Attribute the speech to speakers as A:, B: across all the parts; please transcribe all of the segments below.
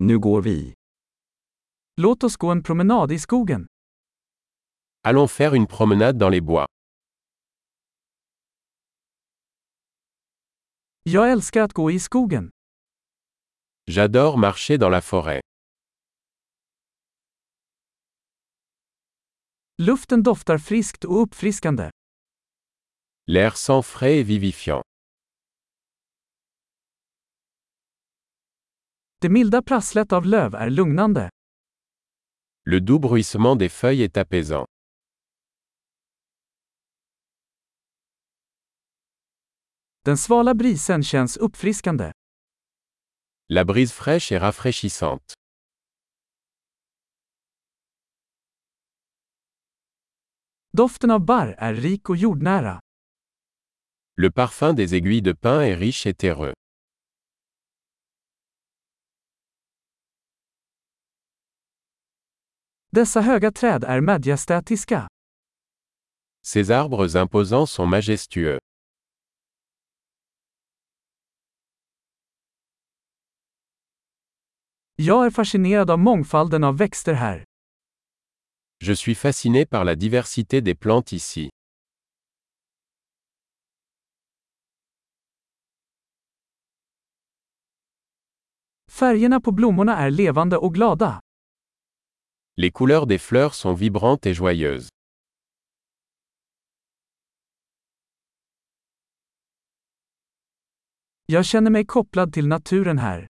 A: Nu går vi.
B: Låt oss gå en promenad i skogen.
C: Allons faire une promenade dans les bois.
B: Jag älskar att gå i skogen.
C: J'adore marcher dans la forêt.
B: Luften doftar friskt och uppfriskande.
C: L'air sent frais et vivifiant.
B: Det milda prasslet av löv är lugnande.
C: Le doux bruissement des feuilles est apaisant.
B: Den svala brisen känns uppfriskande.
C: La brise fraîche est rafraîchissante.
B: Doften av barr är rik och jordnära.
C: Le parfum des aiguilles de pin est riche et terreux.
B: Dessa höga träd är majestätiska.
C: Ces arbres imposants sont majestueux.
B: Jag är fascinerad av mångfalden av växter här.
C: Je suis fasciné par la diversité des plantes ici.
B: Färgerna på blommorna är levande och glada.
C: Les couleurs des fleurs sont vibrantes et joyeuses.
B: Jag känner mig kopplad till naturen här.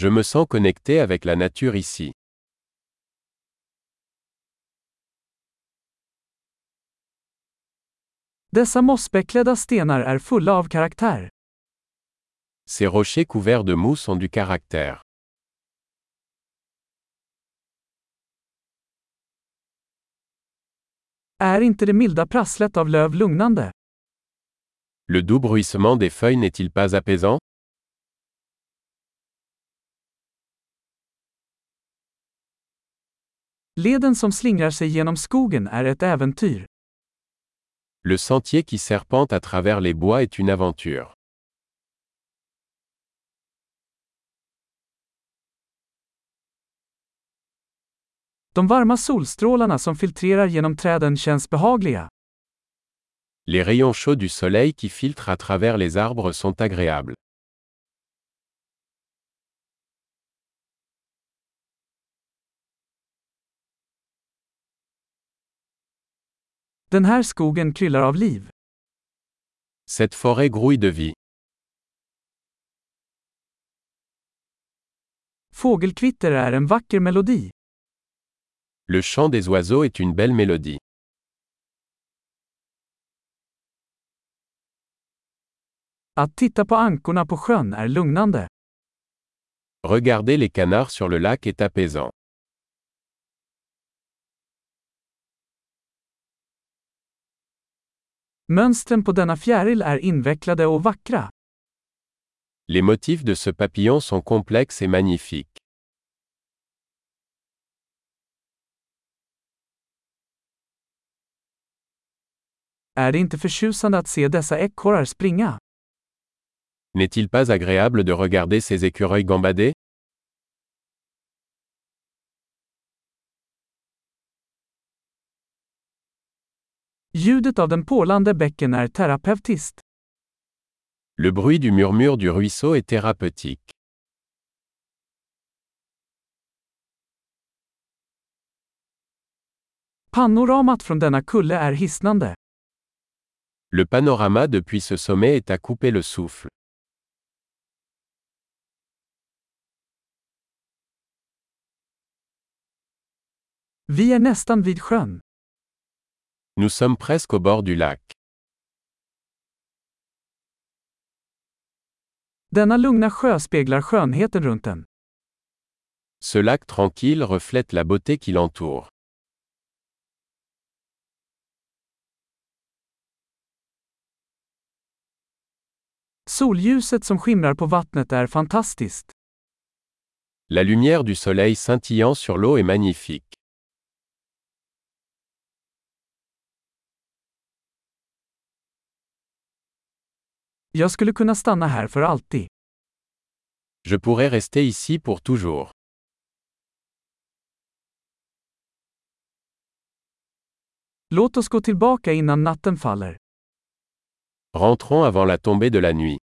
C: Je me sens connecté avec la nature ici.
B: Dessa mossbeklädda stenar är fulla av karaktär.
C: Ces rochers couverts de mousse ont du caractère.
B: Är inte det milda prasslet av löv lugnande?
C: Le doux bruissement des feuilles n'est-il pas apaisant
B: Leden som slingrar sig genom skogen är ett äventyr.
C: Le sentier qui serpente à travers les bois est une aventure.
B: De varma solstrålarna som filtrerar genom träden känns behagliga.
C: Les rayons chauds du soleil qui filtrent à travers les arbres sont agréables.
B: Den här skogen kryllar av liv.
C: Cette forêt grouille de vie.
B: Fågelkvitter är en vacker melodi.
C: Le chant des oiseaux est une belle mélodie.
B: Att titta på ankorna på sjön är lugnande.
C: Regarder les canards sur le lac est apaisant.
B: Mönstren på denna fjäril är invecklade och vackra.
C: Les motifs de ce papillon sont complexes et magnifiques.
B: Är det inte förtjusande att se dessa ekorrar springa?
C: N'est-il pas agréable de regarder ces écureuils gambader
B: Ljudet av den pålande bäcken är terapeutiskt.
C: Le bruit du murmure du ruisseau est thérapeutique.
B: Panoramat från denna kulle är hisnande.
C: Le panorama depuis ce sommet est à couper le souffle.
B: Vi är nästan vid sjön.
C: Nous sommes presque au bord du lac.
B: Denna lugna sjö speglar skönheten runt den.
C: Ce lac tranquille reflète la beauté qui l'entoure.
B: Solljuset som skimrar på vattnet är fantastiskt.
C: La lumière du soleil scintillant sur l'eau est magnifique.
B: Jag skulle kunna stanna här för alltid.
C: Je pourrais rester ici pour toujours.
B: Låt oss gå tillbaka innan natten faller.
C: Rentrons avant la tombée de la nuit.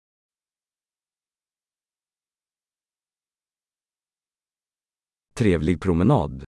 A: Trevlig promenad.